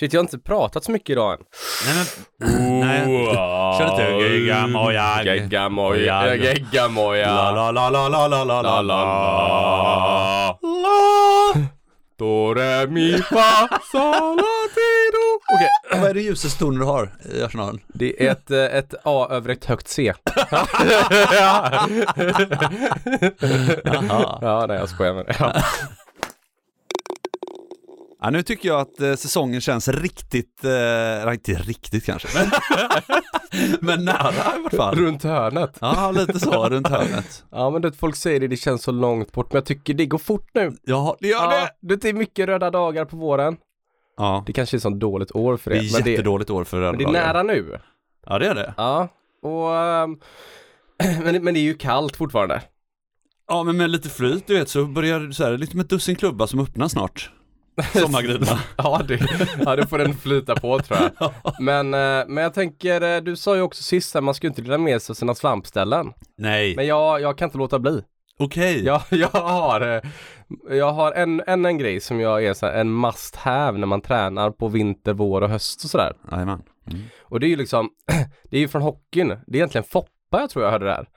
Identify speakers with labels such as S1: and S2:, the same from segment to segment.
S1: Shit, jag har inte pratat så mycket idag än.
S2: Nej men... Nej. Kör inte. Geggamojag.
S1: Geggamoja.
S2: La
S1: Geggamoja.
S2: la la la la la la la
S1: La, la, la. Do, re, mi, fa, sol, la, ti, do. Okej,
S3: Vad är det ljusaste tonen du har i arsenalen?
S1: det är ett, eh, ett A över ett högt C. ja, nej jag skojar med det. Ja.
S3: Ja, nu tycker jag att eh, säsongen känns riktigt, eh, eller inte riktigt kanske, men, men nära i vart fall.
S1: Runt hörnet.
S3: Ja, lite så runt hörnet.
S1: Ja men det, folk säger det, det känns så långt bort, men jag tycker det går fort nu.
S3: Ja, det gör
S1: Ja,
S3: det!
S1: det är mycket röda dagar på våren.
S3: Ja,
S1: Det kanske är ett sånt dåligt år för
S3: det
S1: det.
S3: är
S1: men, det
S3: jättedåligt år för
S1: men det är
S3: röda dagar.
S1: nära nu.
S3: Ja, det är det.
S1: Ja, och... ehm, men, men det är ju kallt fortfarande.
S3: Ja, men med lite flyt du vet så börjar det så här, lite med ett dussin klubbar som öppnar snart. Sommargryna.
S1: Ja, det, ja, då får den flyta på tror jag. Men, eh, men jag tänker, eh, du sa ju också sist att man ska ju inte dela med sig av sina svampställen.
S3: Nej,
S1: Men jag, jag kan inte låta bli.
S3: okej.
S1: Jag, jag har, eh, jag har en, en, en grej som jag är så här, en must have när man tränar på vinter, vår och höst och sådär.
S3: Jajamän.
S1: Och det är ju liksom, det är ju från hockeyn. Det är egentligen Foppa jag tror jag hörde det här.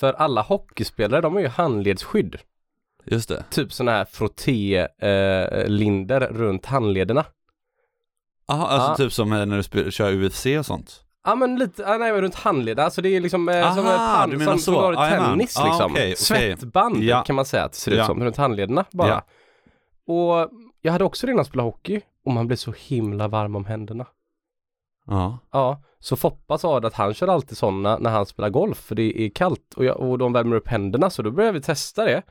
S1: För alla hockeyspelare, de har ju handledsskydd.
S3: Just det.
S1: typ sådana här frottélinder eh, linder runt handlederna.
S3: Jaha, alltså
S1: Ja.
S3: typ som eh, när du spel- kör UFC och sånt.
S1: Ja men lite, ah, nej men runt handlederna, alltså det är liksom eh, som,
S3: Aha,
S1: en pan,
S3: du
S1: som,
S3: menar
S1: som,
S3: så.
S1: du har i
S3: Ah, jajamän.
S1: tennis
S3: Ah,
S1: liksom.
S3: okej, okej.
S1: Svettband
S3: Ja.
S1: kan man säga att det ser ut
S3: Ja.
S1: som, runt handlederna bara.
S3: Ja.
S1: Och jag hade också redan spelat hockey och man blir så himla varm om händerna.
S3: Ja.
S1: Ja, så Foppa sa att han kör alltid sådana när han spelar golf för det är kallt och, jag, och de värmer upp händerna så då började vi testa det.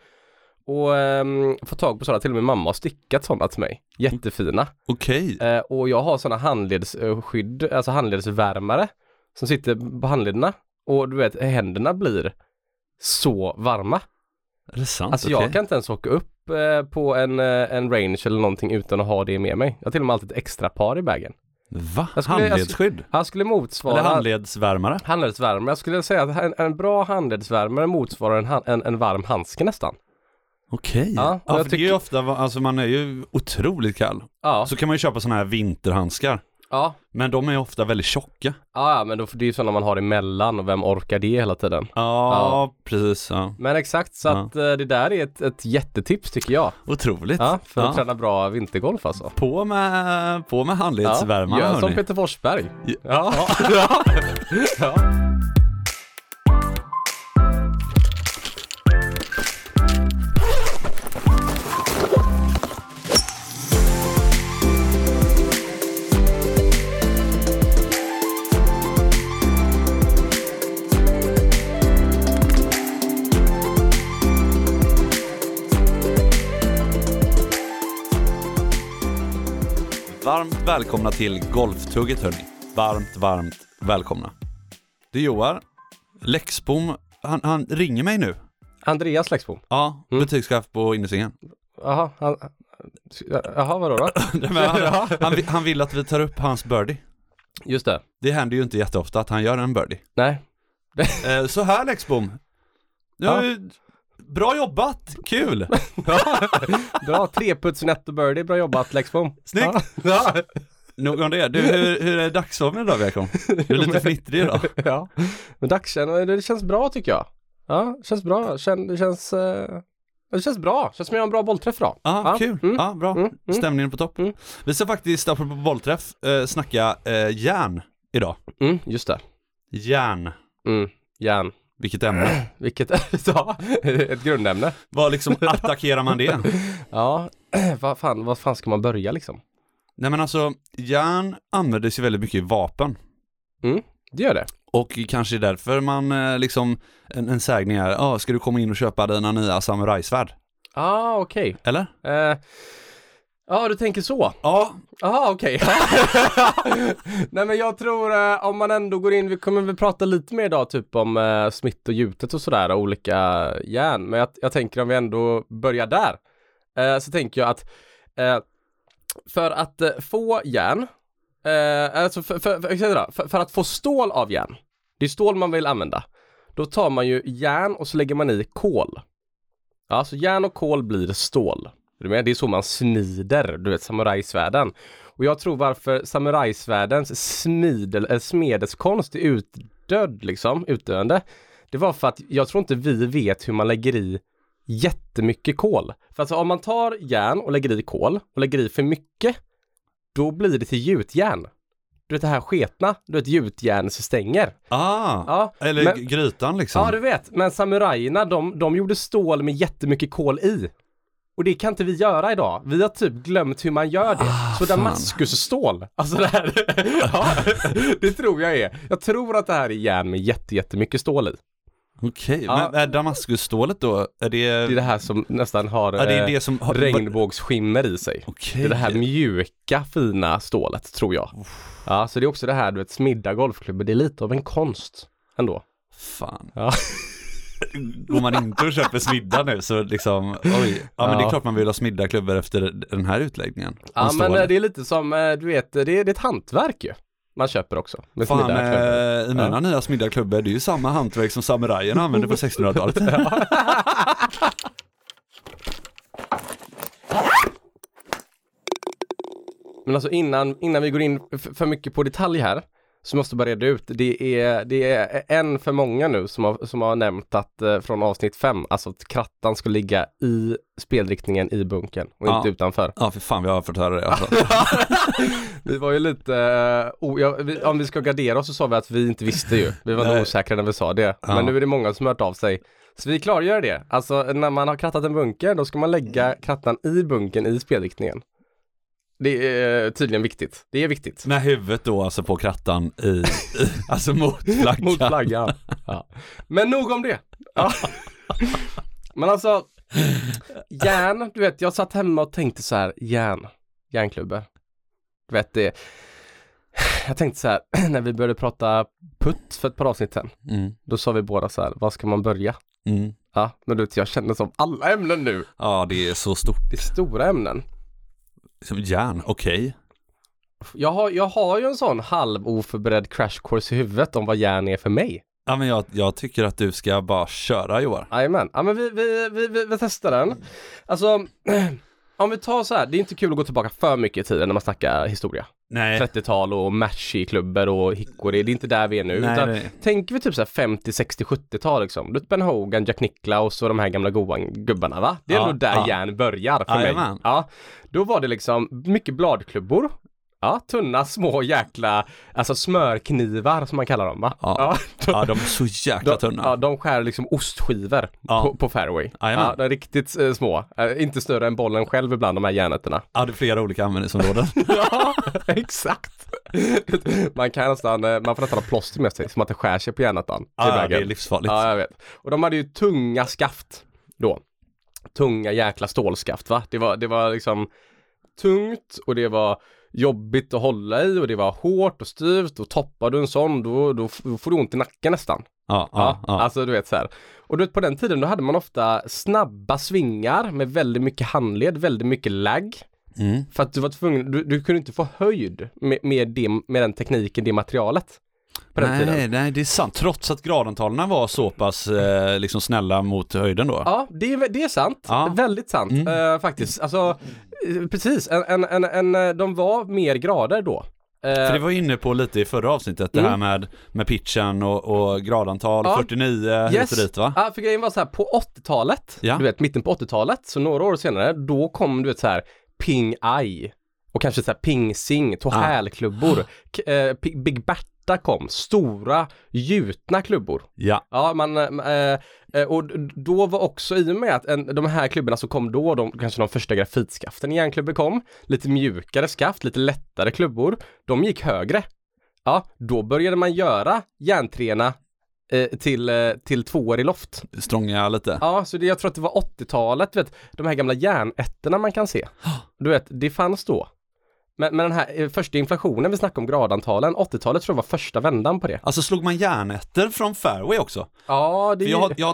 S1: Och ehm, få tag på sådana, till och med mamma har stickat sådana till mig. Jättefina.
S3: Okej.
S1: Eh, och jag har sådana handledsskydd, alltså handledsvärmare som sitter på handlederna. Och du vet, händerna blir så varma.
S3: Är det sant?
S1: Alltså
S3: Okej.
S1: jag kan inte ens åka upp eh, på en, eh, en range eller någonting utan att ha det med mig. Jag har till och med alltid ett extra par i bagen.
S3: Va?
S1: Jag skulle- jag
S3: Handledsskydd?
S1: Han skulle motsvara
S3: Eller handledsvärmare?
S1: handledsvärme. Jag skulle säga att en, en bra handledsvärmare motsvarar en, han- en, en varm handske nästan.
S3: Okej.
S1: Ja,
S3: Ja,
S1: och
S3: för
S1: jag
S3: det är ju
S1: tycker-
S3: ofta, va- alltså man är ju otroligt kall.
S1: Ja,
S3: Så kan man ju köpa sådana här vinterhandskar.
S1: ja.
S3: Men de är ju ofta väldigt tjocka.
S1: ja ja, men då, det är ju sådana man har emellan och vem orkar det hela tiden? Ja.
S3: precis. Ja.
S1: Men exakt, så
S3: Ja.
S1: att eh, det där är ett, ett jättetips tycker jag.
S3: Otroligt.
S1: Ja, för att träna bra vintergolf alltså.
S3: På med, på med handledsvärmare
S1: gör som
S3: hörni.
S1: Peter Forsberg.
S3: Ja.
S1: Ja. ja. ja.
S3: Varmt välkomna till Golftugget hörni. Varmt, varmt välkomna. Det är Joar. Lexbom, han, han ringer mig nu.
S1: Andreas Lexbom.
S3: Ja,
S1: Mm.
S3: butikschef på Innesingen.
S1: Jaha, han... Jaha, vadå då?
S3: Nej, men han, han, vi- han vill att vi tar upp hans birdie.
S1: Just det.
S3: Det händer ju inte jätteofta att han gör en birdie.
S1: Nej.
S3: Eh, Så här Lexbom. Nu har
S1: Ja.
S3: vi- Bra jobbat, kul!
S1: Bra, tre puts netto birdie. Bra jobbat Lexbom.
S3: Snyggt!
S1: Ja.
S3: Nog om det. Du, hur, hur är dagsformen idag Verkom? Du är lite fnittrig idag.
S1: ja. Men dagskänna, det känns bra tycker jag. Ja, det känns bra. Kän, det känns... eh, Det känns bra. Känns som jag har en bra bollträff idag.
S3: Ja,
S1: Ja,
S3: Ah, kul.
S1: mm,
S3: Ja, bra.
S1: mm, mm.
S3: Stämningen på topp.
S1: Mm.
S3: Vi ska faktiskt, apropå bollträff, eh, snacka eh, järn idag.
S1: Mm, just det.
S3: Järn,
S1: Mm, järn.
S3: vilket ämne.
S1: Vilket, ja, ett grundämne.
S3: Vad liksom attackerar man det?
S1: Ja, vad fan, vad fan ska man börja liksom?
S3: Nej men alltså, järn användes ju väldigt mycket i vapen.
S1: Det gör det.
S3: Och kanske därför man eh, liksom, en, en sägning är, ja, ska du komma in och köpa dina nya samurajsvärd?
S1: Ah, okej.
S3: Eller?
S1: Eh, Ja, du tänker så.
S3: Ja,
S1: Jaha, okej. Nej, men jag tror eh, om man ändå går in, vi kommer väl prata lite mer idag typ om eh, smitt och gjutet och sådär och olika järn. Men jag, jag tänker om vi ändå börjar där. Eh, så tänker jag att eh, för att eh, få järn, eh, alltså för, för, för, för, för, för att få stål av järn, det är stål man vill använda, då tar man ju järn och så lägger man i kol. Ja, så järn och kol blir stål. Är du med? Det är så man snider, du vet samurajsvärden. Och jag tror varför samurajsvärdens smidel, eller smedeskonst är utdöd, liksom, utdöende. Det var för att jag tror inte vi vet hur man lägger i jättemycket kol. För alltså om man tar järn och lägger i kol och lägger i för mycket, då blir det till gjutjärn. Du vet det här sketna, du vet gjutjärn så stänger.
S3: Ah,
S1: Ja,
S3: eller
S1: men-
S3: g- grytan liksom.
S1: Ja, du vet. Men samurajerna, de, de gjorde stål med jättemycket kol i. Och det kan inte vi göra idag. Vi har typ glömt hur man gör det.
S3: Ah,
S1: så Damaskusstål, alltså det här. ja, det tror jag är. Jag tror att det här är järn med jätte, jättemycket stål i.
S3: Okej,
S1: Ja.
S3: men är damaskusstålet då, är det...
S1: Det är det här som nästan har
S3: Ja, det är
S1: eh,
S3: det som har-
S1: regnbågsskimmer i sig.
S3: Okej.
S1: Det är det här mjuka, fina stålet, tror jag. Ja, så det är också det här, du vet, smidda golfklubbor, det är lite av en konst ändå.
S3: Fan.
S1: Ja.
S3: Går man inte och köper smidda nu så liksom, oj. Ja, men det är
S1: Ja.
S3: klart man vill ha smiddaklubbor efter den här utläggningen.
S1: Ja,
S3: Om
S1: men
S3: stålet.
S1: eh, det är lite som, eh, du vet, det är, det är ett hantverk ju. Man köper också. Med
S3: Fan,
S1: smidda kläder.
S3: eh, i mina nya smiddarklubbor, det är ju samma hantverk som samurajerna använde på 1600-talet.
S1: Men alltså innan, innan vi går in f- för mycket på detalj här, så måste jag bara reda ut, det är, det är en för många nu som har, som har nämnt att eh, från avsnitt fem, alltså att krattan ska ligga i spelriktningen i bunken och
S3: Ja.
S1: inte utanför.
S3: Ja, för fan, vi har fått höra det alltså.
S1: Vi var ju lite, eh, o- ja, vi, om vi ska gardera oss så sa vi att vi inte visste ju. Vi var nog
S3: Nej.
S1: osäkra när vi sa det. Men nu är det många som har hört av sig. Så vi klargör det. Alltså när man har krattat en bunker, då ska man lägga krattan i bunkern i spelriktningen. Det är eh, tydligen viktigt. Det är viktigt.
S3: Med huvudet då alltså på krattan i, i alltså mot flaggan.
S1: Mot flaggan. Ja. Men nog om det. Ja. Men alltså, järn, du vet, jag satt hemma och tänkte så här, järn, järnklubbor. Du vet det, jag tänkte så här, när vi började prata putt för ett par avsnitt sen,
S3: Mm,
S1: då sa vi båda så här, var ska man börja?
S3: mm.
S1: Ja, men du vet, jag känner som alla ämnen nu,
S3: Ja, det är så stort.
S1: det är stora ämnen.
S3: Som järn, okej.
S1: Jag har, jag har ju en sån halv oförberedd crash course i huvudet om vad järn är för mig.
S3: Ja, men jag, jag tycker att du ska bara köra Johan.
S1: Jajamän, ja men vi, vi, vi, vi, vi testar den. Alltså, om vi tar så här, det är inte kul att gå tillbaka för mycket i tiden när man snackar historia.
S3: Nej.
S1: 30-tal och matchiklubbor och hickory, det är inte där vi är nu.
S3: Nej,
S1: utan
S3: nej.
S1: Tänker vi typ så här 50, 60, 70-tal liksom. Ruth Ben Hogan, Jack Nicklaus och de här gamla goa gubbarna va? Det är
S3: Ja,
S1: ändå där
S3: ja.
S1: järn börjar för mig.
S3: Jajamän.
S1: Ja, då var det liksom mycket bladklubbor. Ja, tunna små jäkla, alltså smörknivar som man kallar dem va?
S3: Ja. Ja, de är så jäkla
S1: De,
S3: tunna.
S1: ja, de skär liksom ostskivor
S3: Ja.
S1: på, på fairway.
S3: Jajamän.
S1: Ja, de är riktigt eh, små. Eh, inte större än bollen själv ibland, de här järnötterna.
S3: Ja, det är flera olika användningsområden.
S1: Ja, exakt. Man kan nästan, eh, man får nästan ha plåster med sig, som att det skär sig på järnötan. till
S3: ja, det
S1: vägen.
S3: är livsfarligt.
S1: Ja, jag vet. Och de hade ju tunga skaft då. Tunga jäkla stålskaft, va? Det var, det var liksom tungt och det var jobbigt att hålla i och det var hårt och styvt och toppar du en sån då, då f- då får du ont i nacken nästan.
S3: Ja,
S1: Ja,
S3: ja, ja.
S1: Alltså du vet så här. Och du vet på den tiden då hade man ofta snabba svingar med väldigt mycket handled, väldigt mycket lagg.
S3: Mm.
S1: För att du var tvungen, du, du kunde inte få höjd med, med, det, med den tekniken, det materialet. På den tiden.
S3: Nej, nej, det är sant. Trots att gradantalen var så pass eh, liksom snälla mot höjden då.
S1: Ja, det är, det är sant.
S3: Ja. Mm.
S1: Väldigt sant eh, faktiskt. Alltså, eh, precis. En, en, en, en, eh, de var mer grader då. Eh, Mm.
S3: För det var ju inne på lite i förra avsnittet, det här med, med pitchen och, och gradantal,
S1: Ja.
S3: 49 hit och dit va?
S1: Ja, för grejen var så här på 80-talet,
S3: Ja.
S1: du vet mitten på 80-talet, så några år senare, då kom du vet så här Ping Ai och kanske så här Ping Sing, Tohäl-klubbor. K- eh, P- Big Berta kom, stora gjutna klubbor.
S3: Ja.
S1: Ja, man, eh, eh, och d- då var också i och med att en, de här klubborna som kom då, de, kanske de första grafitskaften i järnklubbor kom, lite mjukare skaft, lite lättare klubbor, de gick högre. Ja, då började man göra järntrena eh, till, eh, till tvåor i loft.
S3: Strånga lite.
S1: Ja, så det, jag tror att det var 80-talet, du vet, de här gamla järnätterna man kan se. Du vet, det fanns då. Men, men den här eh, första inflationen vi snackade om, gradantalen, 80-talet tror jag var första vändan på det.
S3: Alltså slog man järnätter från fairway också?
S1: Ja, det
S3: För jag, har, jag har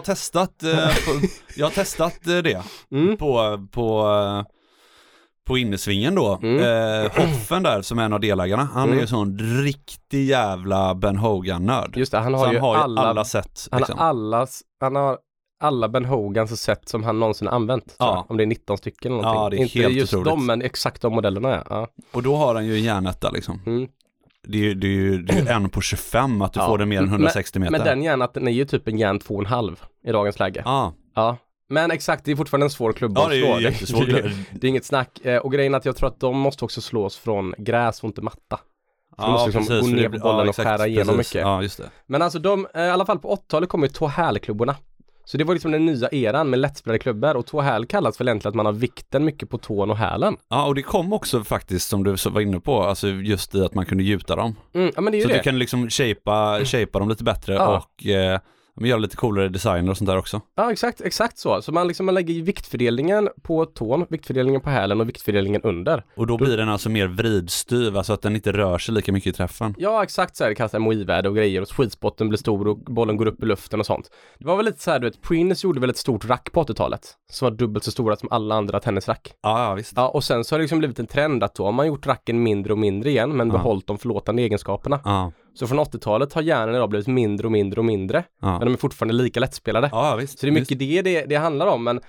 S3: testat, eh, på, jag har testat eh, det
S1: Mm.
S3: på, på, eh, på innesvingen då.
S1: Mm.
S3: Eh, Hoffen där som är en av delägarna, han är ju sån riktig jävla Ben Hogan-nörd.
S1: Just det, han
S3: Så
S1: har
S3: han
S1: ju
S3: har ju
S1: alla
S3: alla, sätt
S1: Han
S3: liksom.
S1: har allas, han har alla Ben Hogans sätt som han någonsin använt. tror
S3: Ja.
S1: jag. Om det är 19 stycken eller
S3: Ja,
S1: någonting.
S3: det är
S1: Inte
S3: helt
S1: just
S3: otroligt.
S1: de, men exakt de modellerna ja. ja.
S3: Och då har han ju en järnetta liksom.
S1: Mm.
S3: Det är ju, det är ju, det är ju en på 25 att du
S1: Ja.
S3: får den mer än
S1: Men-
S3: 160 meter.
S1: Men den hjärnan är ju typ en järn 2,5 i dagens läge. Ja.
S3: Ja,
S1: Men exakt, det är fortfarande en svår klubba
S3: ja
S1: att
S3: det
S1: slå.
S3: är ju jättesvårt.
S1: det, det är inget snack. Eh, Och grejen är att jag tror att de måste också slås från gräs och inte matta.
S3: Ja,
S1: de måste liksom gå
S3: för
S1: ner
S3: det-
S1: på bollen och skära igenom mycket.
S3: Ja, just det.
S1: Men alltså de, eh, i alla fall på 80-talet kom ju tåhälklubborna. Så det var liksom den nya eran med lättspelade klubbor och tåhäl kallas väl egentligen att man har vikten mycket på tån och hälen.
S3: Ja, och det kom också faktiskt som du så var inne på, alltså just i att man kunde gjuta dem.
S1: Mm, ja men det är ju
S3: Så
S1: det. Mm.
S3: du kan liksom shapea, shapea dem lite bättre
S1: Ja.
S3: och eh, men göra lite coolare designer och sånt där också.
S1: Ja exakt, exakt så. Så man liksom man lägger viktfördelningen på tån, viktfördelningen på hälen och viktfördelningen under.
S3: Och då blir den alltså mer vridstyv, alltså att den inte rör sig lika mycket i träffen.
S1: Ja exakt så här, det kallas MHI-värde och grejer och skidsporten blir stor och bollen går upp i luften och sånt. Det var väl lite så här, du vet, Prinus gjorde väl ett stort rack på 80-talet som var dubbelt så stora som alla andra tennisrack.
S3: Ja, ja visst.
S1: Ja, och sen så har det liksom blivit en trend att då har man gjort racken mindre och mindre igen, men
S3: Ja.
S1: behållit de förlåtande egenskaperna.
S3: Ja,
S1: Så från 80-talet har hjärnan idag blivit mindre och mindre och mindre,
S3: ja.
S1: men de är fortfarande lika lättspelade.
S3: ja ja, visst.
S1: Så det är mycket det, det det handlar om, men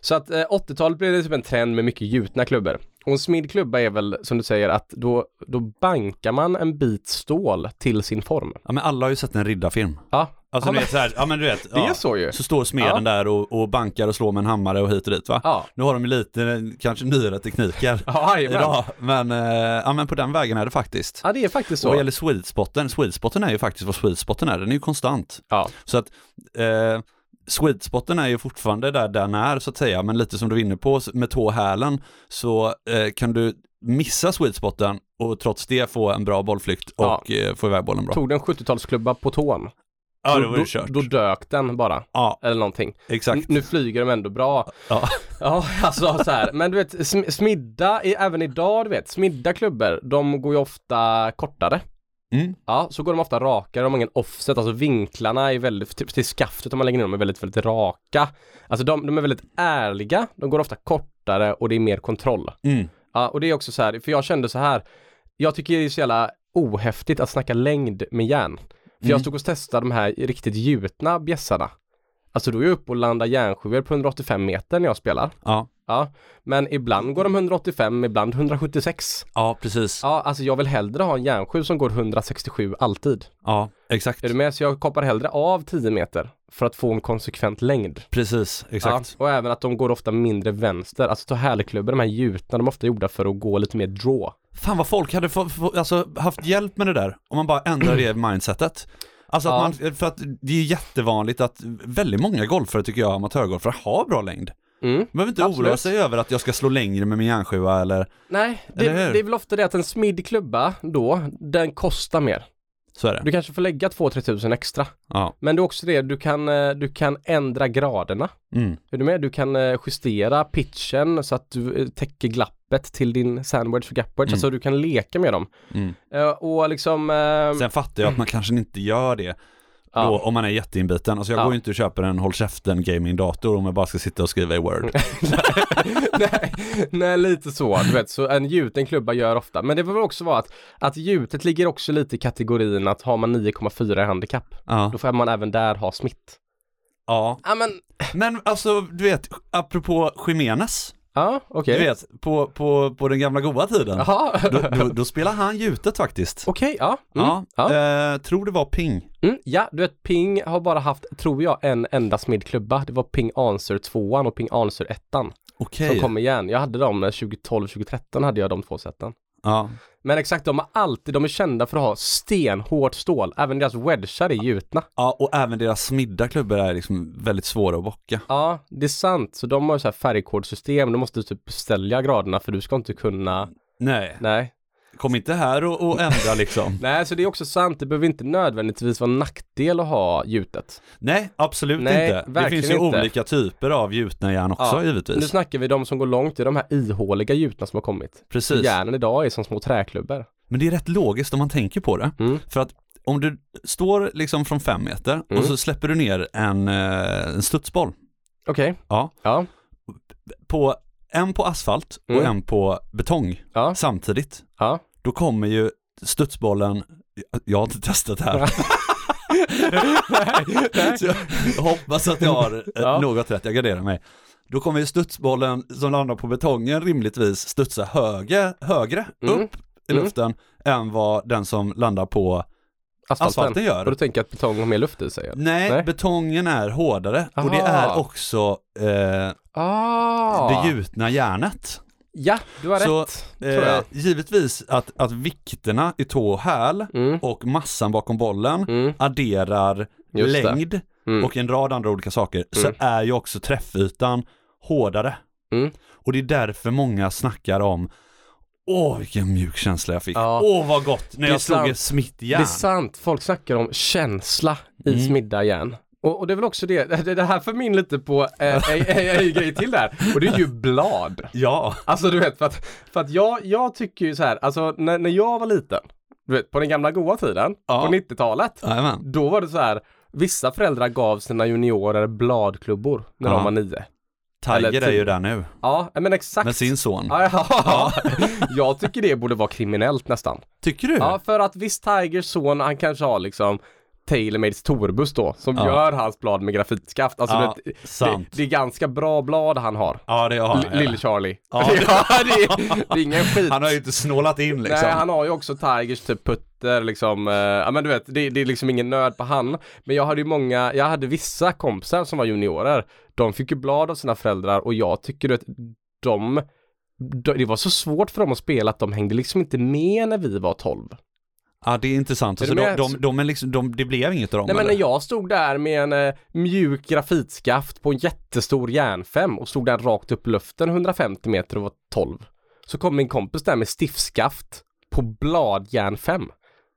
S1: så att eh, 80-talet blev det typ en trend med mycket gjutna klubbor. Och en smidd klubba är väl, som du säger, att då, då bankar man en bit stål till sin form.
S3: Ja, men alla har ju sett en riddarfilm.
S1: Ja,
S3: Alltså
S1: Ja,
S3: du
S1: men-
S3: vet så här, ja men du vet.
S1: det
S3: ja.
S1: är så ju.
S3: Så står smeden
S1: Ja.
S3: där och, och bankar och slår med en hammare och hit och dit va?
S1: Ja,
S3: Nu har de ju lite, kanske nyare tekniker
S1: ja, jajamän.
S3: idag, men, eh, ja, men på den vägen är det faktiskt.
S1: ja det är faktiskt
S3: Och vad
S1: så.
S3: gäller sweetspotten, sweetspotten är ju faktiskt vad sweetspotten är, den är ju konstant.
S1: Ja,
S3: Så att eh, sweetspotten är ju fortfarande där den är så att säga, men lite som du var inne på med tåhälen så eh, kan du missa sweetspotten och trots det få en bra bollflykt och eh, få iväg bollen bra.
S1: tog den 70-talsklubba på tån,
S3: Ja,
S1: då,
S3: då var
S1: då,
S3: det kört.
S1: då Mm. dök den bara.
S3: Ja,
S1: Eller någonting.
S3: exakt.
S1: Nu flyger de ändå bra.
S3: Ja.
S1: Ja, alltså så här. Men du vet, sm- smidda, i- även idag, du vet, smidda klubbor, de går ju ofta kortare.
S3: Mm.
S1: Ja, så går de ofta rakare, de har ingen offset, alltså vinklarna är väldigt, typ till, till skaftet om man lägger ner dem är väldigt, väldigt raka. Alltså de, de är väldigt ärliga, de går ofta kortare och det är mer kontroll.
S3: Mm.
S1: Ja, och det är också så här, för jag kände så här, jag tycker det är så jävla ohäftigt att snacka längd med järn. För jag
S3: Mm.
S1: stod och testade de här riktigt gjutna bjässarna. Alltså då är jag uppe och landar järnsjuor på 185 meter när jag spelar.
S3: Ja.
S1: Ja, men ibland går de 185, ibland 176.
S3: ja, precis.
S1: Ja, alltså jag vill hellre ha en järnsju som går 167 alltid.
S3: Ja, exakt.
S1: Är du med? Så jag koppar hellre av 10 meter för att få en konsekvent längd.
S3: Precis, exakt.
S1: Ja, och även att de går ofta mindre vänster. Alltså ta härligklubbar, de här gjutna, de är ofta gjorda för att gå lite mer draw.
S3: Fan vad folk hade få, få, alltså, haft hjälp med det där om man bara ändrar det mindsetet. Alltså att man, för att det är jättevanligt att väldigt många golfare tycker jag, amatörgolfare, har bra längd.
S1: Mm.
S3: Man behöver inte oroa
S1: Absolut. sig
S3: sig över att jag ska slå längre med min järnsjua eller
S1: Nej, det,
S3: Eller hur?
S1: det är väl ofta det att en smidig klubba då, den kostar mer.
S3: så är det.
S1: Du kanske får lägga 2-3 tusen extra.
S3: Ja.
S1: Men det är också det, du kan, eh, du kan ändra graderna.
S3: Mm.
S1: Är du med? Du kan eh, justera pitchen så att du eh, täcker glappet till din sandwedge och gapwedge.
S3: Mm.
S1: Alltså du kan leka med dem.
S3: Mm.
S1: Eh, och liksom... eh,
S3: Sen fattar jag att man kanske inte gör det
S1: ja.
S3: då, om man är jätteinbiten. Alltså jag
S1: Ja.
S3: går ju inte och köper en håll käften gaming-dator om jag bara ska sitta och skriva i Word.
S1: nej, nej, lite så. Du vet, så en gjuten klubba gör ofta. Men det får väl också vara att, att gjutet ligger också lite i kategorin att har man 9,4 i handikapp,
S3: Ja.
S1: då får man även där ha smitt.
S3: ja.
S1: Ja, men...
S3: Men alltså, du vet, apropå Jiménez,
S1: Ja, okej.
S3: du vet, på, på, på den gamla goda tiden.
S1: Jaha.
S3: Då, då, då spelar han gjutet faktiskt.
S1: Okej, ja. Mm. Ja.
S3: Ja, Eh, tror det var ping.
S1: Mm. ja, du vet Ping har bara haft, tror jag, en enda smidklubba. Det var Ping Answer 2 och Ping Answer 1 som
S3: Okej.
S1: kom igen. Jag hade dem eh, 2012, 2013 hade jag de två seten.
S3: Ja.
S1: Men exakt, de har alltid, de är kända för att ha stenhårt stål. Även deras wedgar är gjutna.
S3: ja, och även deras smidda klubbor är liksom väldigt svåra att bocka.
S1: Ja, det är sant. Så de har ju så här färgkodsystem. De måste typ beställa graderna för du ska inte kunna...
S3: Nej,
S1: Nej.
S3: kom inte här och, och ändra liksom.
S1: Nej, så det är också sant. Det behöver inte nödvändigtvis vara en nackdel att ha gjutet.
S3: Nej, absolut
S1: Nej,
S3: inte. Det
S1: verkligen
S3: finns ju
S1: inte.
S3: olika typer av gjutna järn också
S1: Ja, Nu
S3: givetvis.
S1: snackar vi de som går långt i de här ihåliga gjutna som har kommit.
S3: Precis.
S1: Järnen idag är som små träklubbor.
S3: Men det är rätt logiskt om man tänker på det.
S1: Mm.
S3: För att om du står liksom från fem meter
S1: Mm.
S3: och så släpper du ner en, eh, en studsboll
S1: Okej.
S3: Ja.
S1: Ja.
S3: på en på asfalt och
S1: Mm.
S3: en på betong
S1: Ja.
S3: samtidigt.
S1: Ja.
S3: Då kommer ju studsbollen, jag har inte testat det här, Så jag hoppas att jag har eh,
S1: Ja.
S3: något rätt, jag garderar mig. Då kommer ju studsbollen som landar på betongen rimligtvis studsa högre, högre
S1: Mm.
S3: upp i
S1: Mm.
S3: luften än vad den som landar på
S1: Asfalten.
S3: asfalten gör.
S1: Och du tänker att betong har mer luft i sig? eller?
S3: Nej,
S1: Nej.
S3: betongen är hårdare och det
S1: Aha.
S3: är också eh,
S1: Ah!
S3: det gjutna järnet.
S1: Ja, du har
S3: Så,
S1: rätt. Tror
S3: Eh,
S1: jag.
S3: givetvis att, att vikterna i tå och häl
S1: Mm,
S3: och massan bakom bollen
S1: mm,
S3: adderar
S1: Just det.
S3: längd
S1: mm.
S3: och en rad andra olika saker
S1: Mm.
S3: så är ju också träffytan hårdare.
S1: Mm.
S3: Och det är därför många snackar om Åh vilken mjuk känsla jag fick.
S1: Ja.
S3: Åh vad gott när
S1: Det är
S3: jag slog
S1: sant.
S3: ett smitt
S1: Det är
S3: järn.
S1: sant, folk snackar om känsla i
S3: Mm.
S1: smidda järn. Och, och det är väl också det, det, det här för min lite på eh, en, en, en grej till där. Och det är ju blad.
S3: Ja.
S1: Alltså du vet, för att, för att jag, jag tycker ju så här, alltså när, när jag var liten, du vet, på den gamla goa tiden,
S3: Ja.
S1: på 90-talet,
S3: Jajamän.
S1: då var det så här, vissa föräldrar gav sina juniorer bladklubbor när
S3: Ja.
S1: de var nio. Eller
S3: Tiger är ju
S1: typ-
S3: där nu
S1: Ja, men exakt.
S3: med sin son.
S1: Ja, ja. jag tycker det borde vara kriminellt nästan.
S3: Tycker du?
S1: Ja, för att visst Tigers son, han kanske har liksom Tailormades Torbus då, som
S3: Ja.
S1: gör hans blad med grafitskaft. Alltså,
S3: Ja,
S1: det, det,
S3: sant.
S1: det är ganska bra blad han har.
S3: Ja det har
S1: L- Lille Charlie.
S3: Ja,
S1: det, ja, det, det är ingen skit.
S3: Han har ju inte snålat in liksom.
S1: Nej, han har ju också Tigers typ putter liksom. eh, Ja, men du vet, det, det är liksom ingen nöd på han. Men jag hade ju många, jag hade vissa kompisar som var juniorer. De fick ju blad av sina föräldrar och jag tycker att de, de, det var så svårt för dem att spela att de hängde liksom inte med när vi var 12.
S3: Ja det är intressant.
S1: Är
S3: så
S1: du
S3: de,
S1: med?
S3: de, de är liksom, de, det blev inget av dem
S1: Nej men
S3: eller?
S1: när jag stod där med en eh, mjuk grafitskaft på en jättestor järnfem och stod där rakt upp i luften 150 meter och var 12. Så kom min kompis där med stiftskaft på bladjärn 5.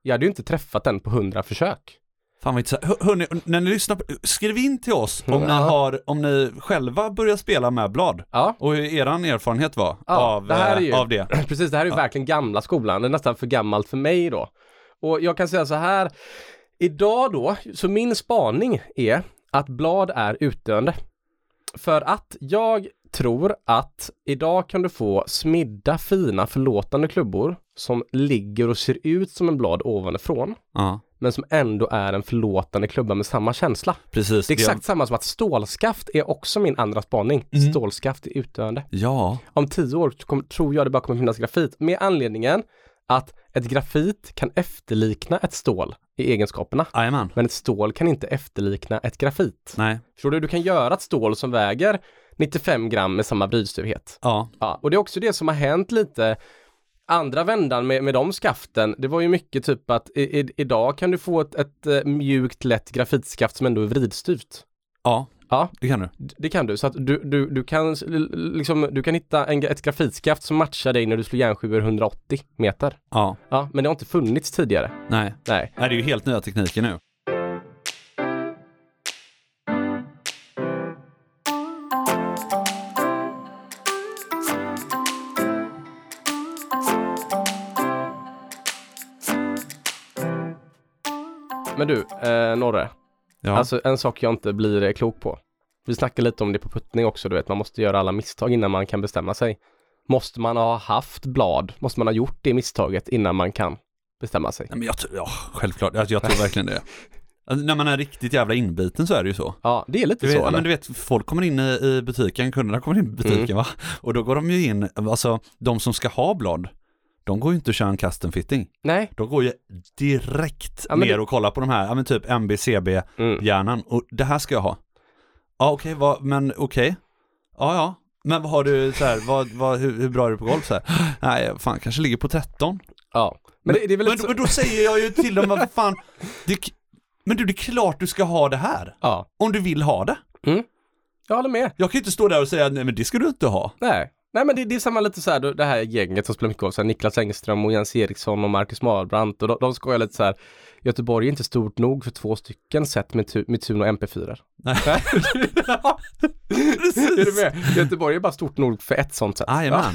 S1: Jag hade ju inte träffat den på 100 försök.
S3: Fan vad intressant. Hör- Hörni, när ni lyssnar, på, skriv in till oss om, ni,
S1: Ja.
S3: har, om ni själva börjar spela med blad
S1: Ja,
S3: och hur er erfarenhet var
S1: Ja,
S3: av,
S1: det här är
S3: eh,
S1: ju-
S3: av det.
S1: precis. Det här är ju verkligen gamla skolan. Det är nästan för gammalt för mig då. Och jag kan säga så här. Idag då, så min spaning är att blad är utdöende. För att jag tror att idag kan du få smidda, fina, förlåtande klubbor som ligger och ser ut som en blad ovanifrån,
S3: Ja,
S1: men som ändå är en förlåtande klubba med samma känsla.
S3: precis.
S1: Det är exakt samma som att stålskaft är också min andra spaning.
S3: Mm.
S1: Stålskaft är utdöende.
S3: Ja,
S1: Om tio år kom- tror jag det bara kommer finnas grafit med anledningen att ett grafit kan efterlikna ett stål i egenskaperna.
S3: jajamän.
S1: Men ett stål kan inte efterlikna ett grafit.
S3: Nej,
S1: Förstår du? Du kan göra ett stål som väger 95 gram med samma brytstuvhet.
S3: ja,
S1: Ja, och det är också det som har hänt lite andra vändan med, med de skaften. Det var ju mycket typ att i, i, idag kan du få ett, ett eh, mjukt lätt grafitskaft som ändå är vridstyvt.
S3: ja.
S1: Ja.
S3: Det kan du.
S1: D- Det kan du, så att du, du, du kan s- l- liksom, du kan hitta en, gra- ett grafitskaft som matchar dig när du slår järnskivor 180 meter.
S3: Ja,
S1: Ja, men det har inte funnits tidigare.
S3: nej.
S1: Nej.
S3: Nej, det är ju helt nya tekniker nu.
S1: Men du, eh, Norre,
S3: Ja,
S1: alltså en sak jag inte blir eh, klok på. Vi snackade lite om det på puttning också, du vet, man måste göra alla misstag innan man kan bestämma sig. Måste man ha haft blad? Måste man ha gjort det misstaget innan man kan bestämma sig?
S3: nej, men jag tror, ja, självklart. Jag, jag tror verkligen det. Alltså, när man är riktigt jävla inbiten så är det ju så.
S1: Ja, det är lite
S3: Du vet,
S1: så
S3: ja,
S1: eller?
S3: men du vet, folk kommer in i, i butiken, kunderna kommer in i butiken
S1: Mm.
S3: va? Och då går de ju in, alltså de som ska ha blad, de går ju inte och kör en custom fitting.
S1: Nej.
S3: De går ju direkt
S1: Ja, men
S3: ner
S1: det-
S3: och kollar på de här, ja men typ MBCB-hjärnan
S1: Mm.
S3: och det här ska jag ha. Ja okej, vad- men okej. Ja ja, men vad har du så här, vad, vad, hur, hur bra är du på golf så här? Nej, jag fan kanske ligger på 13.
S1: Ja. Men det, det är väl
S3: Men,
S1: lite så...
S3: men då säger jag ju till dem, vad fan, det, är k- men du det är klart du ska ha det här,
S1: Ja,
S3: om du vill ha det.
S1: jag håller med.
S3: Jag kan ju inte stå där och säga, nej men det ska du inte ha.
S1: Nej. Nej men det, det är samma lite så här, då- det här gänget som spelar mycket golf, så här, Niklas Engström och Jens Eriksson och Marcus Marbrandt och de, de skojar lite så här, Göteborg är inte stort nog för två stycken sett med, tu, med Tuno MP4.
S3: Nej.
S1: är du med? Göteborg är bara stort nog för ett sånt sätt.
S3: Jajamän.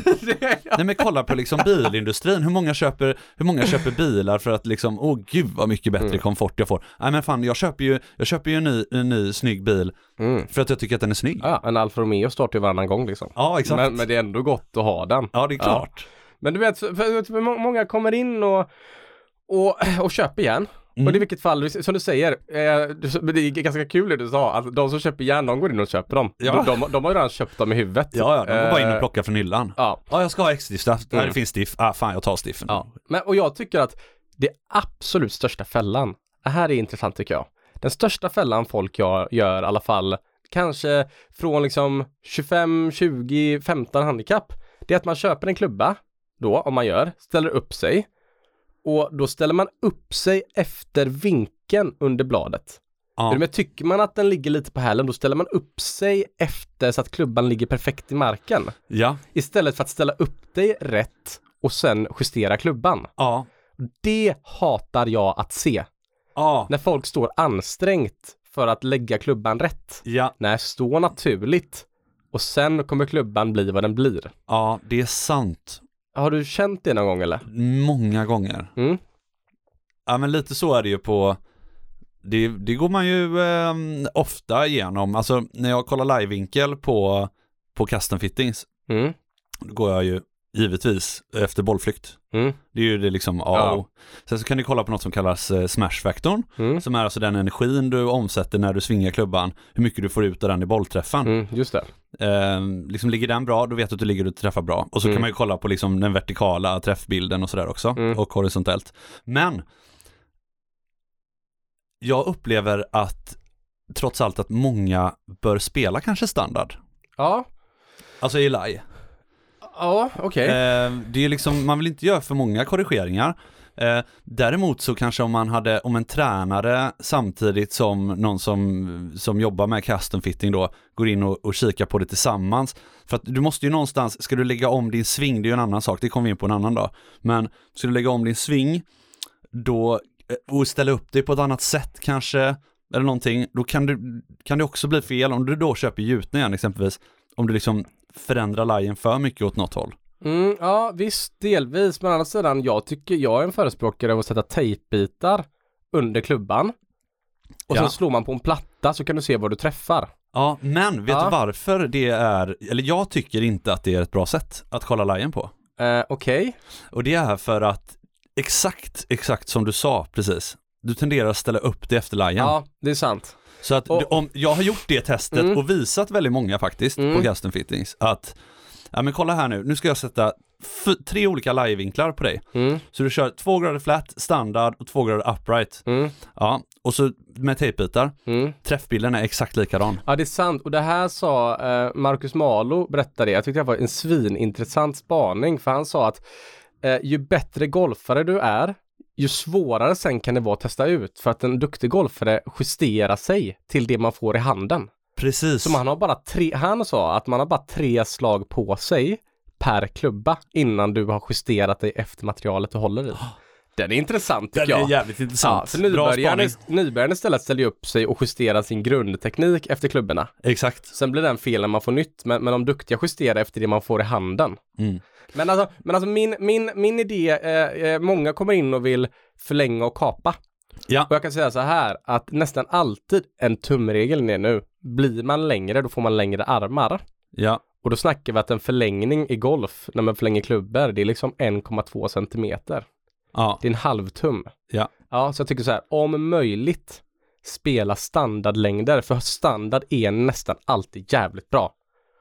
S3: Nej men kolla på liksom bilindustrin, hur många köper, hur många köper bilar för att liksom, åh gud vad mycket
S1: Mm.
S3: bättre komfort jag får. Nej men fan, jag köper ju, jag köper ju en ny, en ny snygg bil
S1: Mm.
S3: för att jag tycker att den är snygg.
S1: Ja, en Alfa Romeo startar ju varannan gång liksom.
S3: Ja, exakt.
S1: Men, men det är ändå gott att ha den.
S3: Ja, det är klart.
S1: Men du vet, för, för, för, må- många kommer in och, och, och köper järn Och i
S3: Mm.
S1: vilket fall, som du säger, eh, du- men det är ganska kul det du sa, att de som köper järn, de går in och köper dem.
S3: Ja.
S1: De, de, de har ju redan köpt dem i huvudet.
S3: Ja, ja, de går bara in och
S1: Eh,
S3: plockar från hyllan.
S1: Ja,
S3: Ja, jag ska ha extra-stift. Nej,
S1: Mm.
S3: det finns stift. Ah, fan, jag tar stiffen.
S1: Ja, men och jag tycker att det absolut största fällan, det här är intressant tycker jag. Den största fällan folk gör, gör i alla fall, kanske från liksom 25, 20, 15 handikapp, det är att man köper en klubba då, om man gör, ställer upp sig och då ställer man upp sig efter vinkeln under bladet.
S3: Ja.
S1: Är du med? Tycker man att den ligger lite på hälen, då ställer man upp sig efter så att klubban ligger perfekt i marken.
S3: Ja.
S1: Istället för att ställa upp dig rätt och sen justera klubban.
S3: Ja.
S1: Det hatar jag att se.
S3: Ja.
S1: När folk står ansträngt för att lägga klubban rätt.
S3: Ja.
S1: Nej, stå naturligt. Och sen kommer klubban bli vad den blir.
S3: Ja, det är sant.
S1: Har du känt det någon gång eller?
S3: Många gånger.
S1: Mm.
S3: Ja, men lite så är det ju på det, det går man ju eh, ofta igenom. Alltså när jag kollar livevinkel på, på custom fittings,
S1: Mm.
S3: då går jag ju givetvis efter bollflykt.
S1: Mm.
S3: Det är ju det liksom A och
S1: Ja.
S3: O. Sen så kan du kolla på något som kallas eh, smashfaktorn,
S1: Mm.
S3: som är alltså den energin du omsätter när du svingar klubban, hur mycket du får ut av den i bollträffen.
S1: Mm. Just det.
S3: Eh, liksom ligger den bra, då vet du att du ligger och träffar bra. Och så
S1: Mm.
S3: kan man ju kolla på liksom den vertikala träffbilden och sådär också,
S1: Mm.
S3: och horisontellt. Men jag upplever att trots allt att många bör spela kanske standard.
S1: Ja.
S3: Alltså i live.
S1: Ja, okej.
S3: Eh, det är ju liksom, man vill inte göra för många korrigeringar. Eh, däremot så kanske om man hade, om en tränare samtidigt som någon som, som jobbar med custom fitting då, går in och, och kikar på det tillsammans. För att du måste ju någonstans, ska du lägga om din sving, det är ju en annan sak, det kommer vi in på en annan dag. Men ska du lägga om din sving, då, eh, och ställa upp dig på ett annat sätt kanske, eller någonting, då kan, du, kan det också bli fel om du då köper gjutningen exempelvis, om du liksom förändrar lajen för mycket åt något håll.
S1: Mm, ja, visst, delvis. Men å andra sidan, jag tycker jag är en förespråkare av att sätta tejpbitar under klubban. Och
S3: Ja.
S1: sen slår man på en platta så kan du se vad du träffar.
S3: Ja, men vet
S1: Ja.
S3: du varför det är, eller jag tycker inte att det är ett bra sätt att kolla lajen på.
S1: Eh, okej.
S3: Och det är för att exakt, exakt som du sa precis, du tenderar att ställa upp det efter lajen.
S1: Ja, det är sant.
S3: Så att
S1: Och-
S3: du, om, jag har gjort det testet
S1: Mm.
S3: och visat väldigt många faktiskt
S1: Mm.
S3: på custom fittings att, ja men kolla här nu, nu ska jag sätta f- tre olika lajvinklar på dig.
S1: Mm,
S3: Så du kör två grader flat, standard och två grader upright.
S1: mm,
S3: Ja, och så med tejpbitar.
S1: mm.
S3: Träffbilden är exakt likadan.
S1: Ja, det är sant. Och det här sa eh, Marcus Malo, berättade det. Jag tyckte det var en svinintressant spaning, för han sa att eh, ju bättre golfare du är, ju svårare sen kan det vara att testa ut, för att en duktig golfare justerar sig till det man får i handen.
S3: Precis.
S1: Så man har bara tre, han sa att man har bara tre slag på sig per klubba innan du har justerat dig efter materialet du håller i. Den är intressant tycker
S3: Den
S1: jag.
S3: är jävligt
S1: Ja,
S3: intressant.
S1: för
S3: Bra
S1: nybörjaren,
S3: spaning.
S1: nybörjaren istället ställer ju upp sig och justerar sin grundteknik efter klubborna.
S3: Exakt.
S1: Sen blir den fel när man får nytt, men, men de duktiga justerar efter det man får i handen.
S3: Mm.
S1: Men alltså, men alltså min, min, min idé, eh, eh, många kommer in och vill förlänga och kapa.
S3: Ja.
S1: Och jag kan säga så här, att nästan alltid en tumregel är nu, blir man längre, då får man längre armar.
S3: Ja,
S1: Och då snackar vi att en förlängning i golf, när man förlänger klubbor, det är liksom 1,2 centimeter.
S3: ja,
S1: Det är en halvtum.
S3: Ja.
S1: Ja, så jag tycker så här, om möjligt spela standardlängder, för standard är nästan alltid jävligt bra.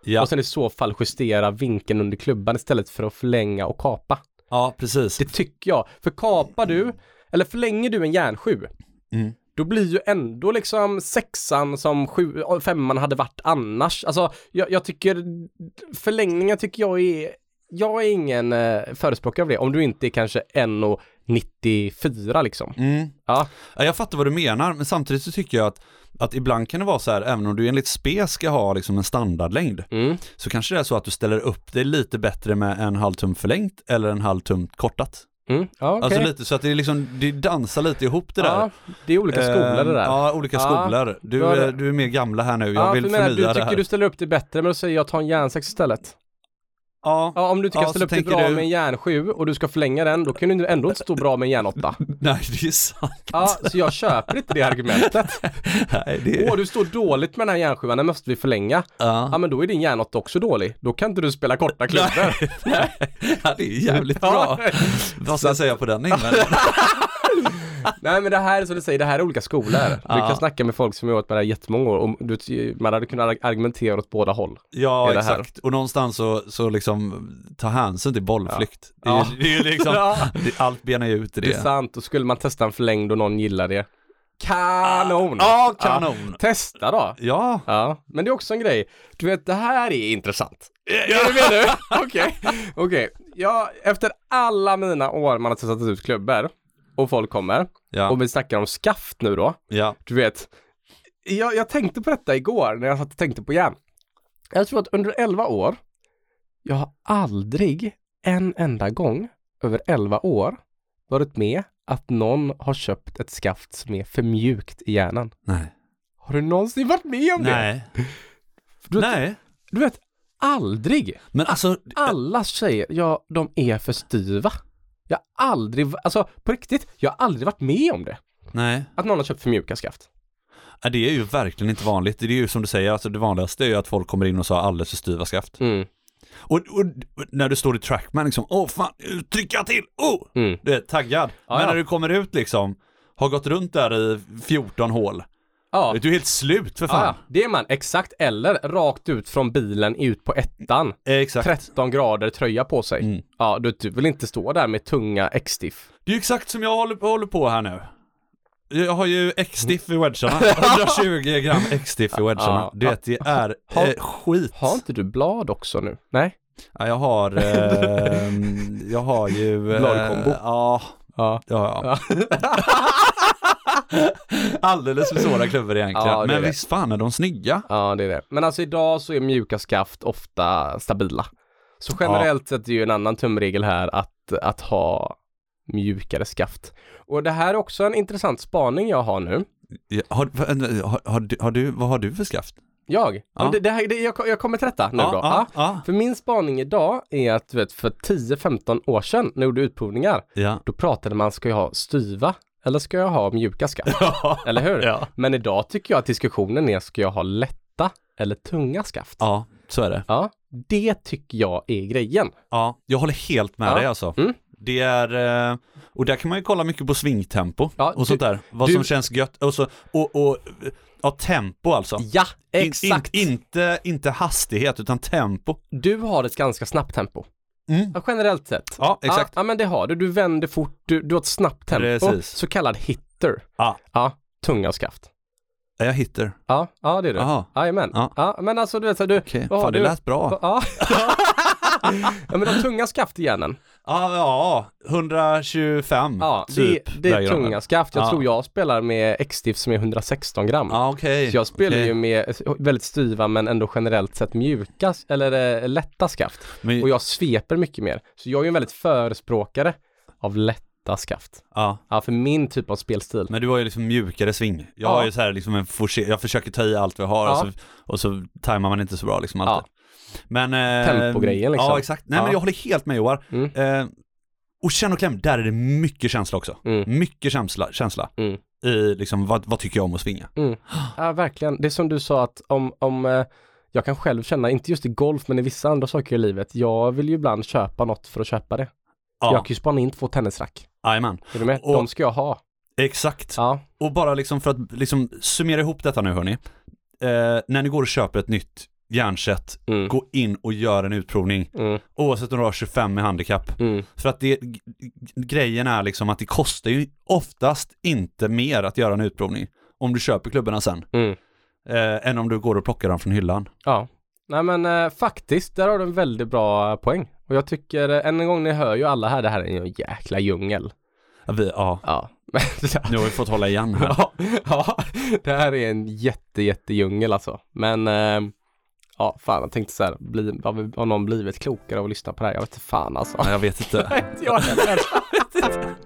S3: ja,
S1: Och sen i så fall justera vinkeln under klubban istället för att förlänga och kapa.
S3: ja precis.
S1: Det tycker jag. För kapar du, eller förlänger du en järnsju,
S3: Mm.
S1: då blir ju ändå liksom sexan som sju, femman hade varit annars. Alltså, jag, jag tycker förlängningar tycker jag är, jag är ingen eh, förespråkare av det, om du inte är kanske 1,94 liksom.
S3: Mm.
S1: Ja.
S3: Ja, jag fattar vad du menar, men samtidigt så tycker jag att, att ibland kan det vara så här, även om du enligt spe ska ha liksom en standardlängd,
S1: Mm.
S3: så kanske det är så att du ställer upp det lite bättre med en halv tum förlängt eller en halv tum kortat.
S1: Mm. Ja, okej.
S3: Alltså lite så att det är liksom, det dansar lite ihop det där.
S1: ja, det är olika skolor det
S3: Eh,
S1: där.
S3: Ja, olika
S1: Ja.
S3: skolor. Du,
S1: Du har-
S3: är- du är mer gamla här nu, jag
S1: ja,
S3: vill
S1: för jag menar,
S3: förnya
S1: du
S3: det
S1: tycker
S3: här.
S1: du ställer upp det bättre, men då säger jag ta en järnsex istället.
S3: Ja,
S1: Ja, om du tycker
S3: Ja,
S1: att ställa
S3: så
S1: upp dig
S3: tänker
S1: bra
S3: du-
S1: med en järn 7 och du ska förlänga den, då kan du ändå inte stå bra med en järn 8.
S3: nej det är sant.
S1: Ja, så jag köper inte det argumentet.
S3: Nej, det
S1: Åh,
S3: är...
S1: du står dåligt med den här järn 7 den måste vi förlänga. Ja, men då är din järn 8 också dålig. Då kan inte du spela korta klubbor.
S3: Nej, det är jävligt
S1: Ja.
S3: bra. Vad ska jag säga på den invändningen?
S1: Nej men det här är som du säger, det här är olika skolor. Du
S3: Ja.
S1: kan snacka med folk som har varit med det här jättemånga år och du, vet, man hade kunnat argumentera åt båda håll.
S3: Ja,
S1: i det här.
S3: exakt. Och någonstans så, så liksom ta hänsyn till bollflykt.
S1: Ja.
S3: Det, är, ju- det är ju liksom, det, allt benar ju ut i det.
S1: Det är sant, och skulle man testa en förlängd och någon gillar det. Kanon!
S3: Ja, kanon.
S1: Testa då!
S3: Ja.
S1: Ja, men det är också en grej. Du vet, det här är intressant. Är du med nu? Okej. Okej. Ja, efter alla mina år man har testat ut klubbor och folk kommer
S3: Ja.
S1: och vi snackar om skaft nu då.
S3: ja.
S1: Du vet, jag, jag tänkte på detta igår när jag satt och tänkte på järn. Jag tror att under 11 år, jag har aldrig en enda gång över 11 år varit med att någon har köpt ett skaft som är för mjukt i hjärnan.
S3: Nej.
S1: Har du någonsin varit med om det?
S3: Nej.
S1: Du-
S3: Nej.
S1: Du vet, aldrig.
S3: Men alltså,
S1: Alla säger, ja, de är för styva. Jag har aldrig, alltså på riktigt, jag har aldrig varit med om det.
S3: nej.
S1: Att någon har köpt för mjuka skaft.
S3: Ja, Det är ju verkligen inte vanligt. Det är ju som du säger, alltså det vanligaste är ju att folk kommer in och sa alldeles för styva skaft.
S1: Mm.
S3: Och, och när du står i trackman liksom, åh fan, trycka till, oh!
S1: Mm.
S3: Du är taggad.
S1: Ja,
S3: Men
S1: ja.
S3: när du kommer ut liksom, har gått runt där i 14 hål,
S1: Ja.
S3: du är helt slut för
S1: Ja,
S3: fan.
S1: ja, det är man. Exakt. Eller rakt ut från bilen ut på ettan.
S3: Eh, Exakt.
S1: 13 grader tröja på sig.
S3: Mm.
S1: Ja, du, du vill inte stå där med tunga X-stiff.
S3: Det är ju exakt som jag håller, håller på här nu. Jag har ju X-stiff i wedgarna, 120 gram X-stiff i wedgarna.
S1: Ja.
S3: Du vet, det är
S1: Ha-
S3: eh, skit.
S1: Har inte du blad också nu? Nej?
S3: Ja, jag har, eh,
S1: ehm,
S3: jag har ju... eh,
S1: Bladkombo.
S3: Ja,
S1: Ja.
S3: ja, ja. Alldeles för svåra klubbor egentligen.
S1: Ja, det är
S3: Men
S1: det.
S3: visst fan är de snygga.
S1: Ja, det är det. Men alltså idag så är mjuka skaft ofta stabila. Så generellt sett är ju en annan tumregel här att, att ha mjukare skaft. Och det här är också en intressant spaning jag har nu.
S3: Ja, Har, vä- har, har, du, har du, vad har du för skaft?
S1: Jag?
S3: Ja.
S1: Och Det, det här, det, jag, jag kommer till detta nu
S3: ja,
S1: då.
S3: Ja,
S1: Ja.
S3: ja.
S1: För min spaning idag är att du vet, för 10-15 år sedan när jag gjorde utprovningar,
S3: ja.
S1: då pratade man ska jag ha styva eller ska jag ha mjuka skaft?
S3: Ja.
S1: Eller hur?
S3: Ja.
S1: Men idag tycker jag att diskussionen är ska jag ha lätta eller tunga skaft? Ja.
S3: ja, så är det.
S1: det tycker jag är grejen.
S3: Ja, jag håller helt med
S1: Ja.
S3: dig alltså.
S1: Mm.
S3: Det är, eh, och där kan man ju kolla mycket på svingtempo
S1: Ja,
S3: och
S1: du-
S3: sånt där. Vad
S1: du-
S3: som känns gött och så, och, och ja, tempo alltså.
S1: Ja,
S3: In-
S1: exakt.
S3: In, inte, inte hastighet utan tempo.
S1: Du har ett ganska snabbt tempo.
S3: Mm.
S1: Ja, generellt sett.
S3: Ja, exakt.
S1: Ja, ja, men det har du. Du vänder fort, du, du har ett snabbt tempo.
S3: Precis.
S1: Så kallad hitter.
S3: Ja.
S1: ja tunga skaft.
S3: Ja, jag hittar.
S1: Ja, ja det är du.
S3: Jaha,
S1: Jajamän.
S3: Ja.
S1: Ja. men alltså du vet så här, du,
S3: okej.
S1: vad har
S3: Fan, det
S1: du?
S3: lät bra.
S1: Ja. ja men de tunga skaft i hjärnan.
S3: Ja, ja, 125
S1: Ja,
S3: typ.
S1: det, det
S3: där
S1: är
S3: grabben.
S1: tunga skaft. Jag
S3: Ja.
S1: tror jag spelar med X-stift som är 116 gram.
S3: Ja, okej.
S1: Så jag spelar
S3: okej.
S1: ju med väldigt styva men ändå generellt sett mjuka s- eller eh, lätta skaft.
S3: Men,
S1: Och jag sveper mycket mer. Så jag är ju en väldigt förespråkare av lätta skaft.
S3: ja.
S1: Ja, för min typ av spelstil.
S3: Men du har ju liksom mjukare sving. Jag
S1: Ja.
S3: har ju så här liksom en forcer- jag försöker ta i allt vi har
S1: Ja.
S3: och, så, och så tajmar man inte så bra liksom alltid. Men... Eh,
S1: Tempogrejen liksom.
S3: Ja exakt. Nej men
S1: Ja.
S3: jag håller helt med Johar.
S1: Mm.
S3: Eh, och känn och kläm, där är det mycket känsla också.
S1: Mm.
S3: Mycket känsla, känsla.
S1: Mm.
S3: i liksom vad, vad tycker jag om att svinga.
S1: Ja, verkligen. Det är som du sa att om, om eh, jag kan själv känna, inte just i golf men i vissa andra saker i livet, jag vill ju ibland köpa något för att köpa det. Jag
S3: Ja,
S1: kan ju spana in två tennisrack.
S3: jajamän.
S1: Är du med?
S3: Och-
S1: De ska jag ha.
S3: Exakt.
S1: Ja.
S3: Och bara liksom för att liksom summera ihop detta nu hörni. Eh, när ni går och köper ett nytt järnset,
S1: Mm.
S3: gå in och gör en utprovning.
S1: Mm.
S3: Oavsett om du har 25 i handikapp.
S1: Mm.
S3: För att det, g- g- grejen är liksom att det kostar ju oftast inte mer att göra en utprovning om du köper klubborna sen,
S1: Mm.
S3: eh, än om du går och plockar dem från hyllan.
S1: Ja. Nej men eh, faktiskt, där har du en väldigt bra eh, poäng. Och jag tycker, eh, än en gång, ni hör ju alla här, det här är en jäkla djungel.
S3: Ja, vi, ja.
S1: Ja. Men-
S3: Nu har vi fått hålla igen här.
S1: ja, ja, det här är en jätte, jätte djungel alltså. Men, eh, ja, fan, jag tänkte så här, bli, har, vi, har någon blivit klokare av att lyssna på det här? Jag vet inte fan alltså.
S3: Nej, jag vet inte.
S1: Jag vet inte.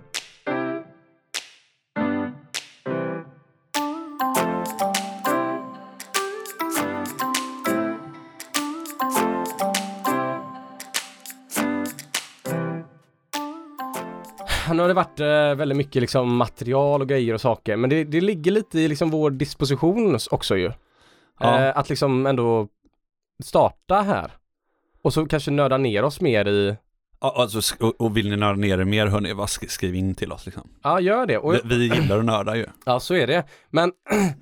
S1: Nu har det varit eh, väldigt mycket liksom, material och grejer och saker, men det, det ligger lite i liksom, vår disposition också ju.
S3: Ja.
S1: Eh, att liksom ändå starta här. Och så kanske nörda ner oss mer i
S3: Ja, Alltså, sk- och, och vill ni nörda ner er mer, hörni, vad sk- skriv in till oss liksom.
S1: Ja, gör det. Och,
S3: Vi, vi gillar att nörda ju.
S1: Ja, så är det. Men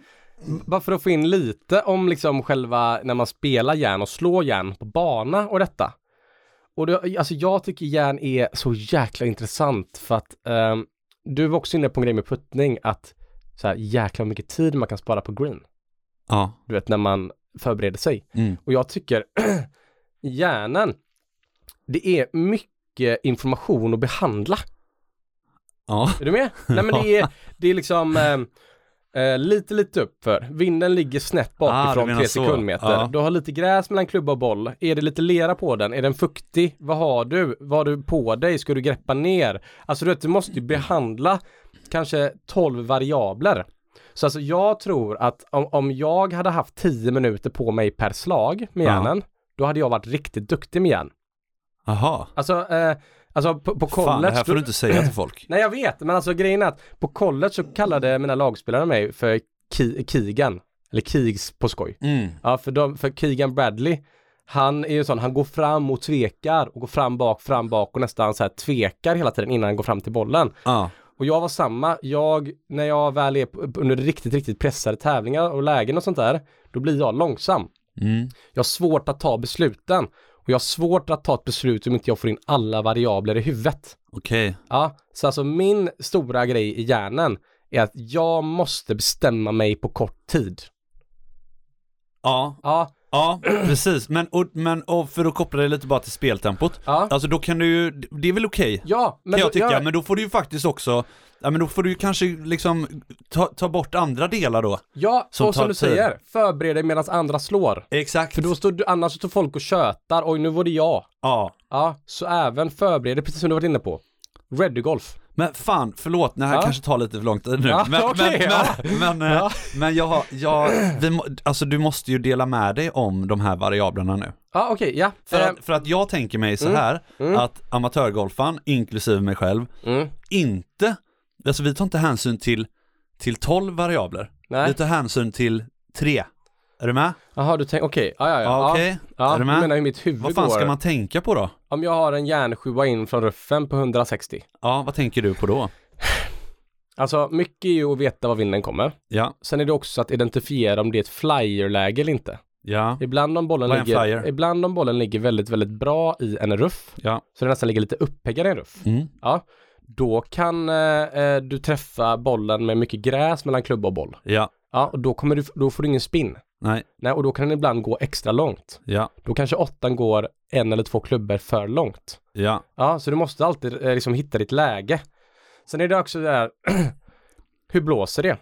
S1: bara för att få in lite om liksom själva när man spelar järn och slår järn på bana och detta. Och det, alltså jag tycker järn är så jäkla intressant för att ehm, du var också inne på en grej med puttning att så här jäkla mycket tid man kan spara på green.
S3: Ja.
S1: Du vet när man förbereder sig.
S3: Mm.
S1: Och jag tycker hjärnan, det är mycket information att behandla.
S3: Ja.
S1: Är du med? Nej men det är, det är liksom eh, eh, lite, lite uppför. Vinden ligger snett
S3: Ah, du
S1: bakifrån
S3: menar
S1: 3
S3: så.
S1: sekundmeter.
S3: Ja.
S1: Du har lite gräs mellan klubba och boll. Är det lite lera på den? Är den fuktig? Vad har du? Vad har du på dig? Ska du greppa ner? Alltså du vet, du måste ju
S3: Mm.
S1: behandla kanske 12 variabler. Så alltså jag tror att om, om jag hade haft 10 minuter på mig per slag med
S3: Ja.
S1: hjärnan, då hade jag varit riktigt duktig med hjärn.
S3: Aha.
S1: Alltså, eh, alltså på, på college...
S3: Fan, det här får
S1: då-
S3: du inte säga till folk.
S1: Nej jag vet, men alltså grejen är att på college så kallade mina lagspelare mig för Ki- Keegan. Eller Keegs på skoj.
S3: Mm.
S1: Ja, för, de, för Keegan Bradley, han är ju sån, han går fram och tvekar och går fram bak, fram bak och nästan så här tvekar hela tiden innan han går fram till bollen.
S3: Ja.
S1: Och jag var samma, jag, när jag väl är på- under riktigt, riktigt pressade tävlingar och lägen och sånt där, då blir jag långsam.
S3: Mm.
S1: Jag har svårt att ta besluten. Och jag har svårt att ta ett beslut om inte jag får in alla variabler i huvudet.
S3: Okej.
S1: Ja, så alltså min stora grej i hjärnan är att jag måste bestämma mig på kort tid.
S3: Ja,
S1: Ja,
S3: ja, precis. Men, och, men och för att koppla det lite bara till speltempot.
S1: ja,
S3: Alltså då kan du ju, det är väl okej?
S1: ja. Men
S3: kan jag
S1: då-
S3: tycka, men då får du ju faktiskt också, ja men då får du ju kanske liksom ta, ta bort andra delar då.
S1: ja,
S3: som
S1: och som
S3: tar
S1: du
S3: tid.
S1: säger, förbered dig medan andra slår.
S3: Exakt.
S1: För då står, du- annars står folk och tjötar, oj nu var det jag.
S3: Ja.
S1: Ja, så även förbered dig, precis som du varit inne på. Ready Golf.
S3: Men fan, förlåt, det här
S1: Ja.
S3: kanske tar lite för lång tid nu.
S1: Ja,
S3: men,
S1: okej,
S3: men,
S1: ja.
S3: men, men, eh, men jag, har- jag vi, må- alltså du måste ju dela med dig om de här variablerna nu.
S1: Ja, okej, ja.
S3: För,
S1: Eh,
S3: att, för att jag tänker mig så här, att amatörgolfaren, inklusive mig själv,
S1: mm,
S3: inte, alltså vi tar inte hänsyn till, till 12 variabler. Vi
S1: nej,
S3: tar hänsyn till tre. Är du med?
S1: jaha du tänker, okej, ja, ja, ja.
S3: Ja,
S1: ja.
S3: okej.
S1: Ja,
S3: Är du
S1: du
S3: med?
S1: menar hur mitt huvud
S3: Vad fan
S1: går.
S3: ska man tänka på då?
S1: Om jag har en järnsjua in från ruffen på 160.
S3: Ja, vad tänker du på då?
S1: Alltså, mycket är ju att veta var vinden kommer.
S3: Ja,
S1: Sen är det också att identifiera om det är ett flyerläge eller inte.
S3: ja,
S1: Ibland om bollen,
S3: Vad är en
S1: ligger,
S3: flyer?
S1: ibland om bollen ligger väldigt, väldigt bra i en ruff,
S3: ja.
S1: så den nästan ligger lite upphäggad i en ruff.
S3: Mm.
S1: Ja, då kan eh, eh, du träffa bollen med mycket gräs mellan klubba och boll.
S3: Ja,
S1: Ja, och då, kommer du, då får du ingen spin.
S3: nej,
S1: Nej, och då kan den ibland gå extra långt.
S3: ja,
S1: Då kanske åttan går en eller två klubbor för långt.
S3: ja.
S1: Ja, så du måste alltid eh, liksom hitta ditt läge. Sen är det också det här, hur blåser det?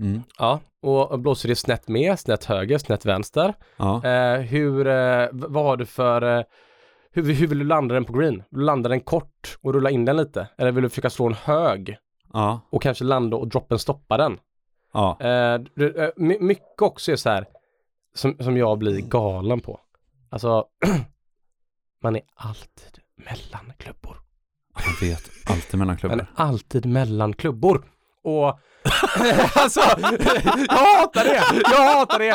S3: Mm.
S1: Ja, och och blåser det snett med, snett höger, snett vänster?
S3: Ja,
S1: Eh, hur, eh, v- vad har du för, eh, hur, hur vill du landa den på green? Vill du landa den kort och rulla in den lite? Eller vill du försöka slå en hög
S3: ja,
S1: och kanske landa och droppen stoppa den?
S3: ja.
S1: Eh, du, eh, my, mycket också är så här, som, som jag blir galen på. Alltså, man är alltid mellan klubbor.
S3: Jag vet alltid mellan
S1: Man är
S3: klubbar.
S1: alltid mellan klubbor. Och alltså, jag hatar det! Jag hatar det!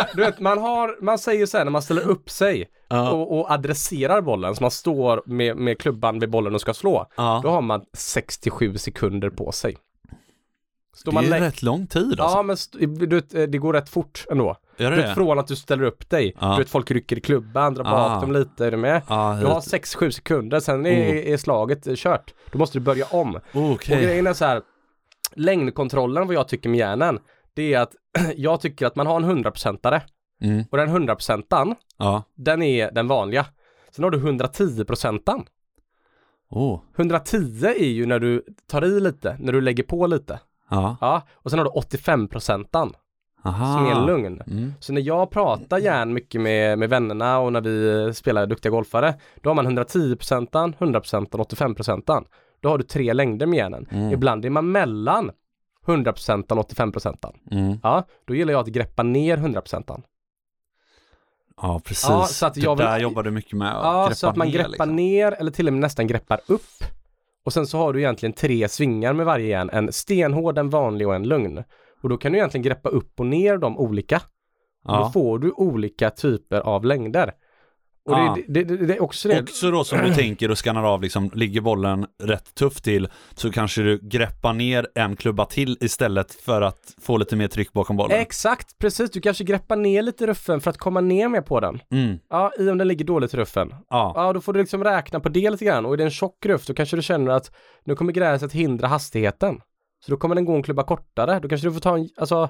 S1: Eh, du vet, man, har, man säger så här när man ställer upp sig
S3: Ja,
S1: och, och adresserar bollen, så man står med, med klubban vid bollen och ska slå, då
S3: ja.
S1: har man 67 sekunder på sig. Står
S3: Det är
S1: man
S3: ju
S1: lä-
S3: rätt lång tid
S1: Ja,
S3: alltså.
S1: men st- du vet, eh, det går rätt fort ändå.
S3: Gör
S1: Du
S3: det
S1: vet,
S3: det?
S1: från att du ställer upp dig,
S3: Ja.
S1: du vet folk rycker i klubban, drar
S3: Ah.
S1: bak dem lite, är du med?
S3: Ja, Oh.
S1: Du har
S3: hit.
S1: 6-7 sekunder, sen är, är slaget eh, kört. Då måste du börja om. Och
S3: Okej.
S1: grejen är så här, längdkontrollen vad jag tycker med hjärnan, det är att jag tycker att man har en 100-procentare
S3: Mm.
S1: och den 100-procentan,
S3: Ja.
S1: den är den vanliga. Sen har du 110-procentan.
S3: Oh.
S1: 110 är ju när du tar i lite, när du lägger på lite.
S3: Ja.
S1: Ja, och sen har du 85-procentan
S3: Aha.
S1: som är lugn.
S3: Mm.
S1: Så när jag pratar järn mycket med, med vännerna och när vi spelar duktiga golfare, då har man 110%, 100%, 85%. Då har du tre längder med järnen.
S3: Mm.
S1: Ibland är man mellan 100% och 85%.
S3: Mm.
S1: Ja, då gillar jag att greppa ner 100%.
S3: Ja, precis.
S1: Ja, så att jag
S3: det
S1: vill-
S3: där jobbar du mycket med.
S1: Ja,
S3: greppa
S1: så att man greppar
S3: liksom.
S1: ner eller till och med nästan greppar upp. Och sen så har du egentligen tre svingar med varje järn. En stenhård, en vanlig och en lugn. Och då kan du egentligen greppa upp och ner de olika. Och Då
S3: Ja.
S1: får du olika typer av längder. Och
S3: Ah.
S1: det, det, det, det är också det.
S3: Också då som du tänker och skannar av, liksom, ligger bollen rätt tufft till så kanske du greppar ner en klubba till istället för att få lite mer tryck bakom bollen.
S1: Exakt, precis. Du kanske greppar ner lite i ruffen för att komma ner mer på den.
S3: Mm,
S1: Ja, i om den ligger dåligt i ruffen.
S3: ja.
S1: Ja, då får du liksom räkna på det lite grann. Och är det en tjock ruff, då kanske du känner att nu kommer gräset hindra hastigheten. Så då kommer den gå en klubba kortare. Då kanske du får ta en, alltså,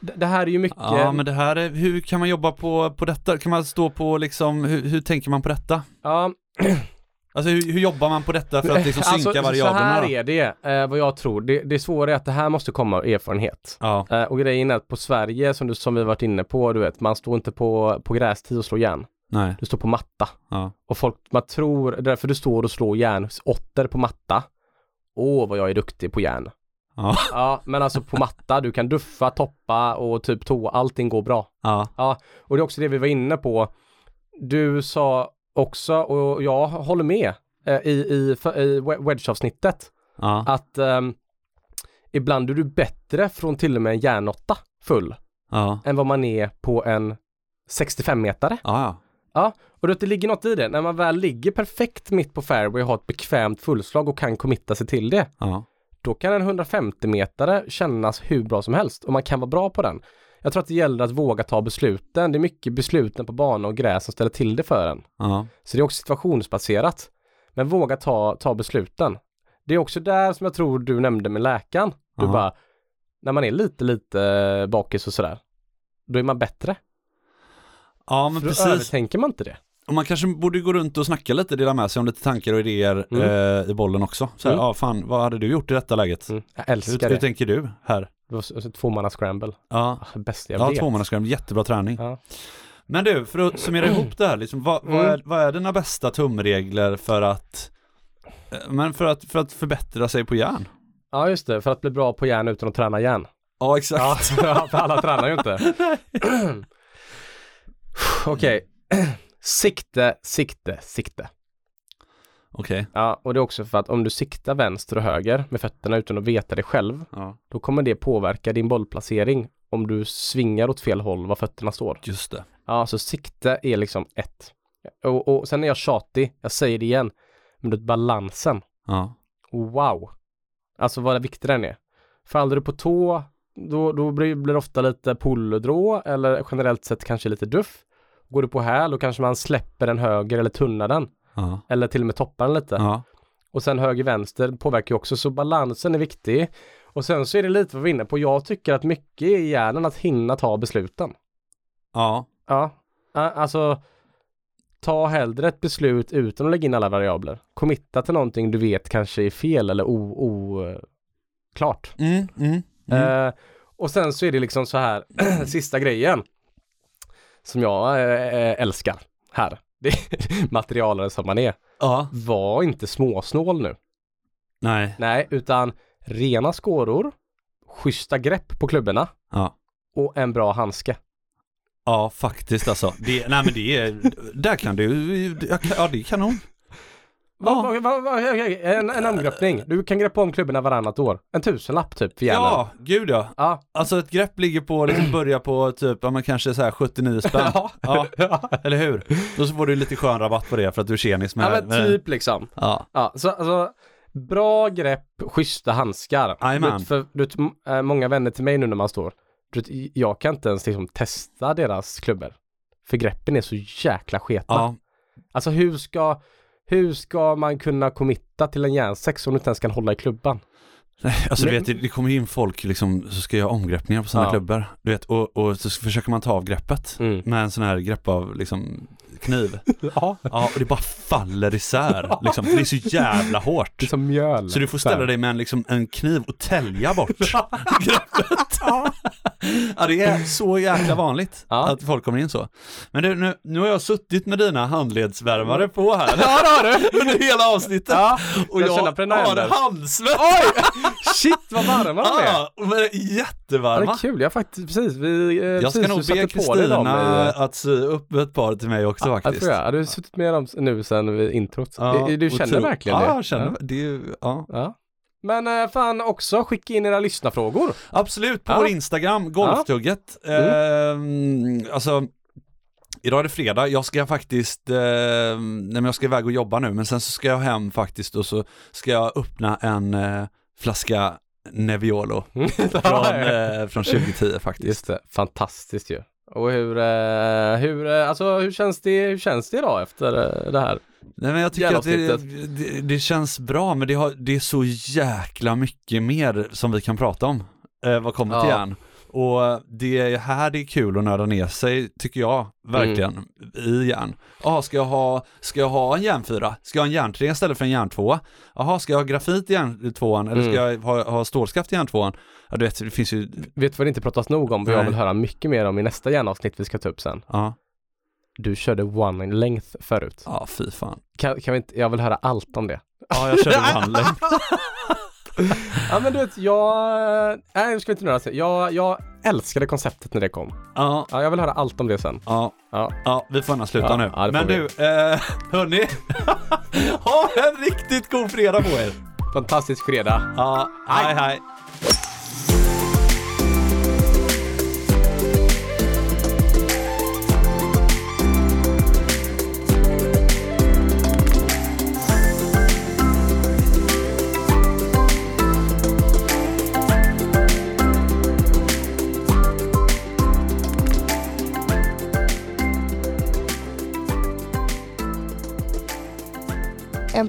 S1: d- det här är ju mycket.
S3: ja, men det här är, hur kan man jobba på, på detta? Kan man stå på liksom, hur, hur tänker man på detta?
S1: Ja, Alltså,
S3: Alltså hur, hur jobbar man på detta för att liksom synka variablerna?
S1: Så här
S3: då?
S1: är det, eh, vad jag tror. Det, det svåra är att det här måste komma av erfarenhet.
S3: Ja,
S1: Eh, och grejen är att på Sverige, som, du, som vi varit inne på, du vet, man står inte på, på grästid och slår järn.
S3: nej,
S1: Du står på matta.
S3: ja.
S1: Och folk, man tror, därför du står och slår järnåttor på matta. Åh, vad jag är duktig på järn.
S3: Ja.
S1: ja, men alltså på matta, du kan duffa, toppa och typ tå, allting går bra.
S3: Ja,
S1: Och det är också det vi var inne på. Du sa också, och jag håller med, eh, i, i, för- i we- wedge-avsnittet,
S3: ja,
S1: att ehm, ibland är du bättre från till och med en järnåtta full
S3: ja,
S1: än vad man är på en 65-metare.
S3: ja,
S1: Och det ligger något i det, när man väl ligger perfekt mitt på fairway och har ett bekvämt fullslag och kan committa sig till det,
S3: ja,
S1: då kan en 150-metare kännas hur bra som helst och man kan vara bra på den. Jag tror att det gäller att våga ta besluten. Det är mycket besluten på bana och gräs som ställer till det för en.
S3: ja,
S1: Så det är också situationsbaserat. Men våga ta, ta besluten. Det är också där som jag tror du nämnde med läkaren. Du
S3: Aha.
S1: bara, när man är lite, lite bakis och sådär, då är man bättre.
S3: ja, men
S1: För då
S3: precis.
S1: övertänker man inte det.
S3: Och man kanske borde gå runt och snacka lite, dela med sig om lite tankar och idéer
S1: Mm.
S3: eh, i bollen också. Så här,
S1: Mm.
S3: ja fan, vad hade du gjort i detta läget?
S1: Mm. Jag
S3: Hur,
S1: älskar
S3: hur
S1: det.
S3: tänker du här?
S1: Det var tvåmanna-scramble.
S3: Ja,
S1: Ah, bästa jag
S3: ja
S1: vet.
S3: tvåmannascram, jättebra träning.
S1: Ja.
S3: Men du, för att summera ihop det här, liksom, vad, vad,
S1: Mm.
S3: är, vad är dina bästa tumregler för att, eh, men för att, för att förbättra sig på järn?
S1: ja, just det. För att bli bra på järn utan att träna järn.
S3: Ja, exakt.
S1: Ja, för alla tränar ju inte. Okej. Sikte, sikte, sikte.
S3: Okej.
S1: Ja, och det är också för att om du siktar vänster och höger med fötterna utan att veta det själv,
S3: Ja,
S1: då kommer det påverka din bollplacering om du svingar åt fel håll var fötterna står.
S3: just det.
S1: Ja, så sikte är liksom ett. Och, och sen är jag tjatig, jag säger det igen, men det är balansen.
S3: Ja,
S1: Wow! Alltså vad viktig den är. Faller du på tå, då, då blir, blir det ofta lite pulldraw eller generellt sett kanske lite duff. Går du på häl, då kanske man släpper den höger eller tunnar den.
S3: ja,
S1: Eller till och med toppar den lite.
S3: ja,
S1: Och sen höger-vänster påverkar ju också, så balansen är viktig. Och sen så är det lite vad vi är inne på. Jag tycker att mycket är i hjärnan att hinna ta besluten.
S3: ja,
S1: Ja, a- alltså ta hellre ett beslut utan att lägga in alla variabler. Committa till någonting du vet kanske är fel eller o- o- eh, klart.
S3: mm, mm, mm.
S1: Eh, och sen så är det liksom så här, sista grejen som jag eh, eh, älskar här. Det är materialare som man är.
S3: ja,
S1: Var inte småsnål nu.
S3: nej,
S1: Nej, utan rena skåror, schyssta grepp på klubborna
S3: ja.
S1: och en bra handske.
S3: Ja, faktiskt alltså. Det, nej men det är, där kan du, ja det är kanon.
S1: Va, va, va, va, okej, okej, en, en omgruppning. Du kan greppa om klubborna varannat år. En tusenlapp typ för hjärnan.
S3: Ja, gud ja.
S1: Ja.
S3: Alltså ett grepp ligger på, liksom börja på typ, ja men kanske så här 79 spänn.
S1: Ja.
S3: Ja, eller hur? Då så får du lite skön rabatt på det för att du är tjenis med.
S1: ja, men
S3: med-
S1: typ liksom.
S3: Ja,
S1: Ja, så alltså, bra grepp, schyssta handskar.
S3: Jajamän.
S1: Du, för, du, m- äh, många vänner till mig nu när man står, du, jag kan inte ens liksom testa deras klubbor. För greppen är så jäkla sketna.
S3: ja,
S1: Alltså hur ska, hur ska man kunna committa till en järnsex om du inte ens kan hålla i klubban?
S3: alltså du
S1: Men-
S3: vet det- det kommer in folk liksom så ska göra omgreppningar på sina
S1: Ja.
S3: klubbor. Du vet, och, och så försöker man ta av greppet
S1: Mm.
S3: med en sån här grepp av liksom kniv.
S1: Ja.
S3: Ja, och det bara faller isär liksom, för det är så jävla hårt.
S1: Det är som mjöl.
S3: Så du får ställa dig med en, liksom, en kniv och tälja bort greppet. ja, det är så jäkla vanligt
S1: Ja.
S3: att folk kommer in så. Men du, nu, nu har jag suttit med dina handledsvärmare på här
S1: Ja, det har du!
S3: under hela avsnittet. och
S1: jag
S3: jag,
S1: känner på dina händer.
S3: har handsvett.
S1: Oj! Shit vad varma de är!
S3: Ja, men
S1: Ja, det
S3: jättevarma.
S1: är kul, jag har faktiskt, precis, vi, eh,
S3: Jag
S1: precis,
S3: ska
S1: du
S3: nog
S1: satte
S3: be
S1: på dig dem
S3: Kristina
S1: i-
S3: att sy upp ett par till mig också
S1: Ja, eh, det
S3: faktiskt.
S1: tror jag. Du har suttit med dem nu sen vid introt. Eh,
S3: Ja,
S1: du, du
S3: och
S1: känner
S3: tro-
S1: verkligen det?
S3: Ja, jag känner det. är ju- ja.
S1: Ja. Men eh, fan också, skicka in era lyssnarfrågor.
S3: Absolut, på
S1: Ja.
S3: vår Instagram, Golftugget. Ehm, alltså, Idag är det fredag, jag ska faktiskt, eh, nej men jag ska iväg och jobba nu, men sen så ska jag hem faktiskt och så ska jag öppna en eh, flaska Nebbiolo Mm. från, eh, från 2010 faktiskt.
S1: Just det, fantastiskt ju. Och hur, eh, hur, eh, alltså, hur, känns det, hur känns det idag efter eh, det här?
S3: Nej men jag tycker
S1: Jävla
S3: att det,
S1: avsnittet.
S3: det, det känns bra, men det, har, det är så jäkla mycket mer som vi kan prata om eh, vad kommer till
S1: Ja.
S3: järn. Och det är här det är kul att nörda ner sig, tycker jag, verkligen, i järn. Jaha, ska jag ha, ska jag ha en järnfyra? Ska jag ha en järntrea istället för en järntvåa? Jaha, ska jag ha grafit i järntvåan eller ska jag ha, ha stålskaft i järntvåan? Ja, du vet, det finns ju,
S1: Vet du vad det inte pratas nog om? Vad jag
S3: Nej.
S1: vill höra mycket mer om i nästa järnavsnitt vi ska ta upp sen.
S3: ja,
S1: Du körde one in length förut.
S3: ja fy fan.
S1: Kan, kan vi inte, jag vill höra allt om det.
S3: Ja, jag körde vanlig.
S1: Ja men du vet, jag... eh, Nej, nu ska vi inte nöra sig. Jag, jag älskade konceptet när det kom.
S3: Ja,
S1: Ja, jag vill höra allt om det sen.
S3: ja.
S1: Ja.
S3: Ja, vi får nästan sluta
S1: Ja,
S3: nu.
S1: ja, det får
S3: Men
S1: vi.
S3: du, eh, hörni. ha en riktigt god fredag på er.
S1: Fantastisk fredag.
S3: Ja, hej hej.
S4: En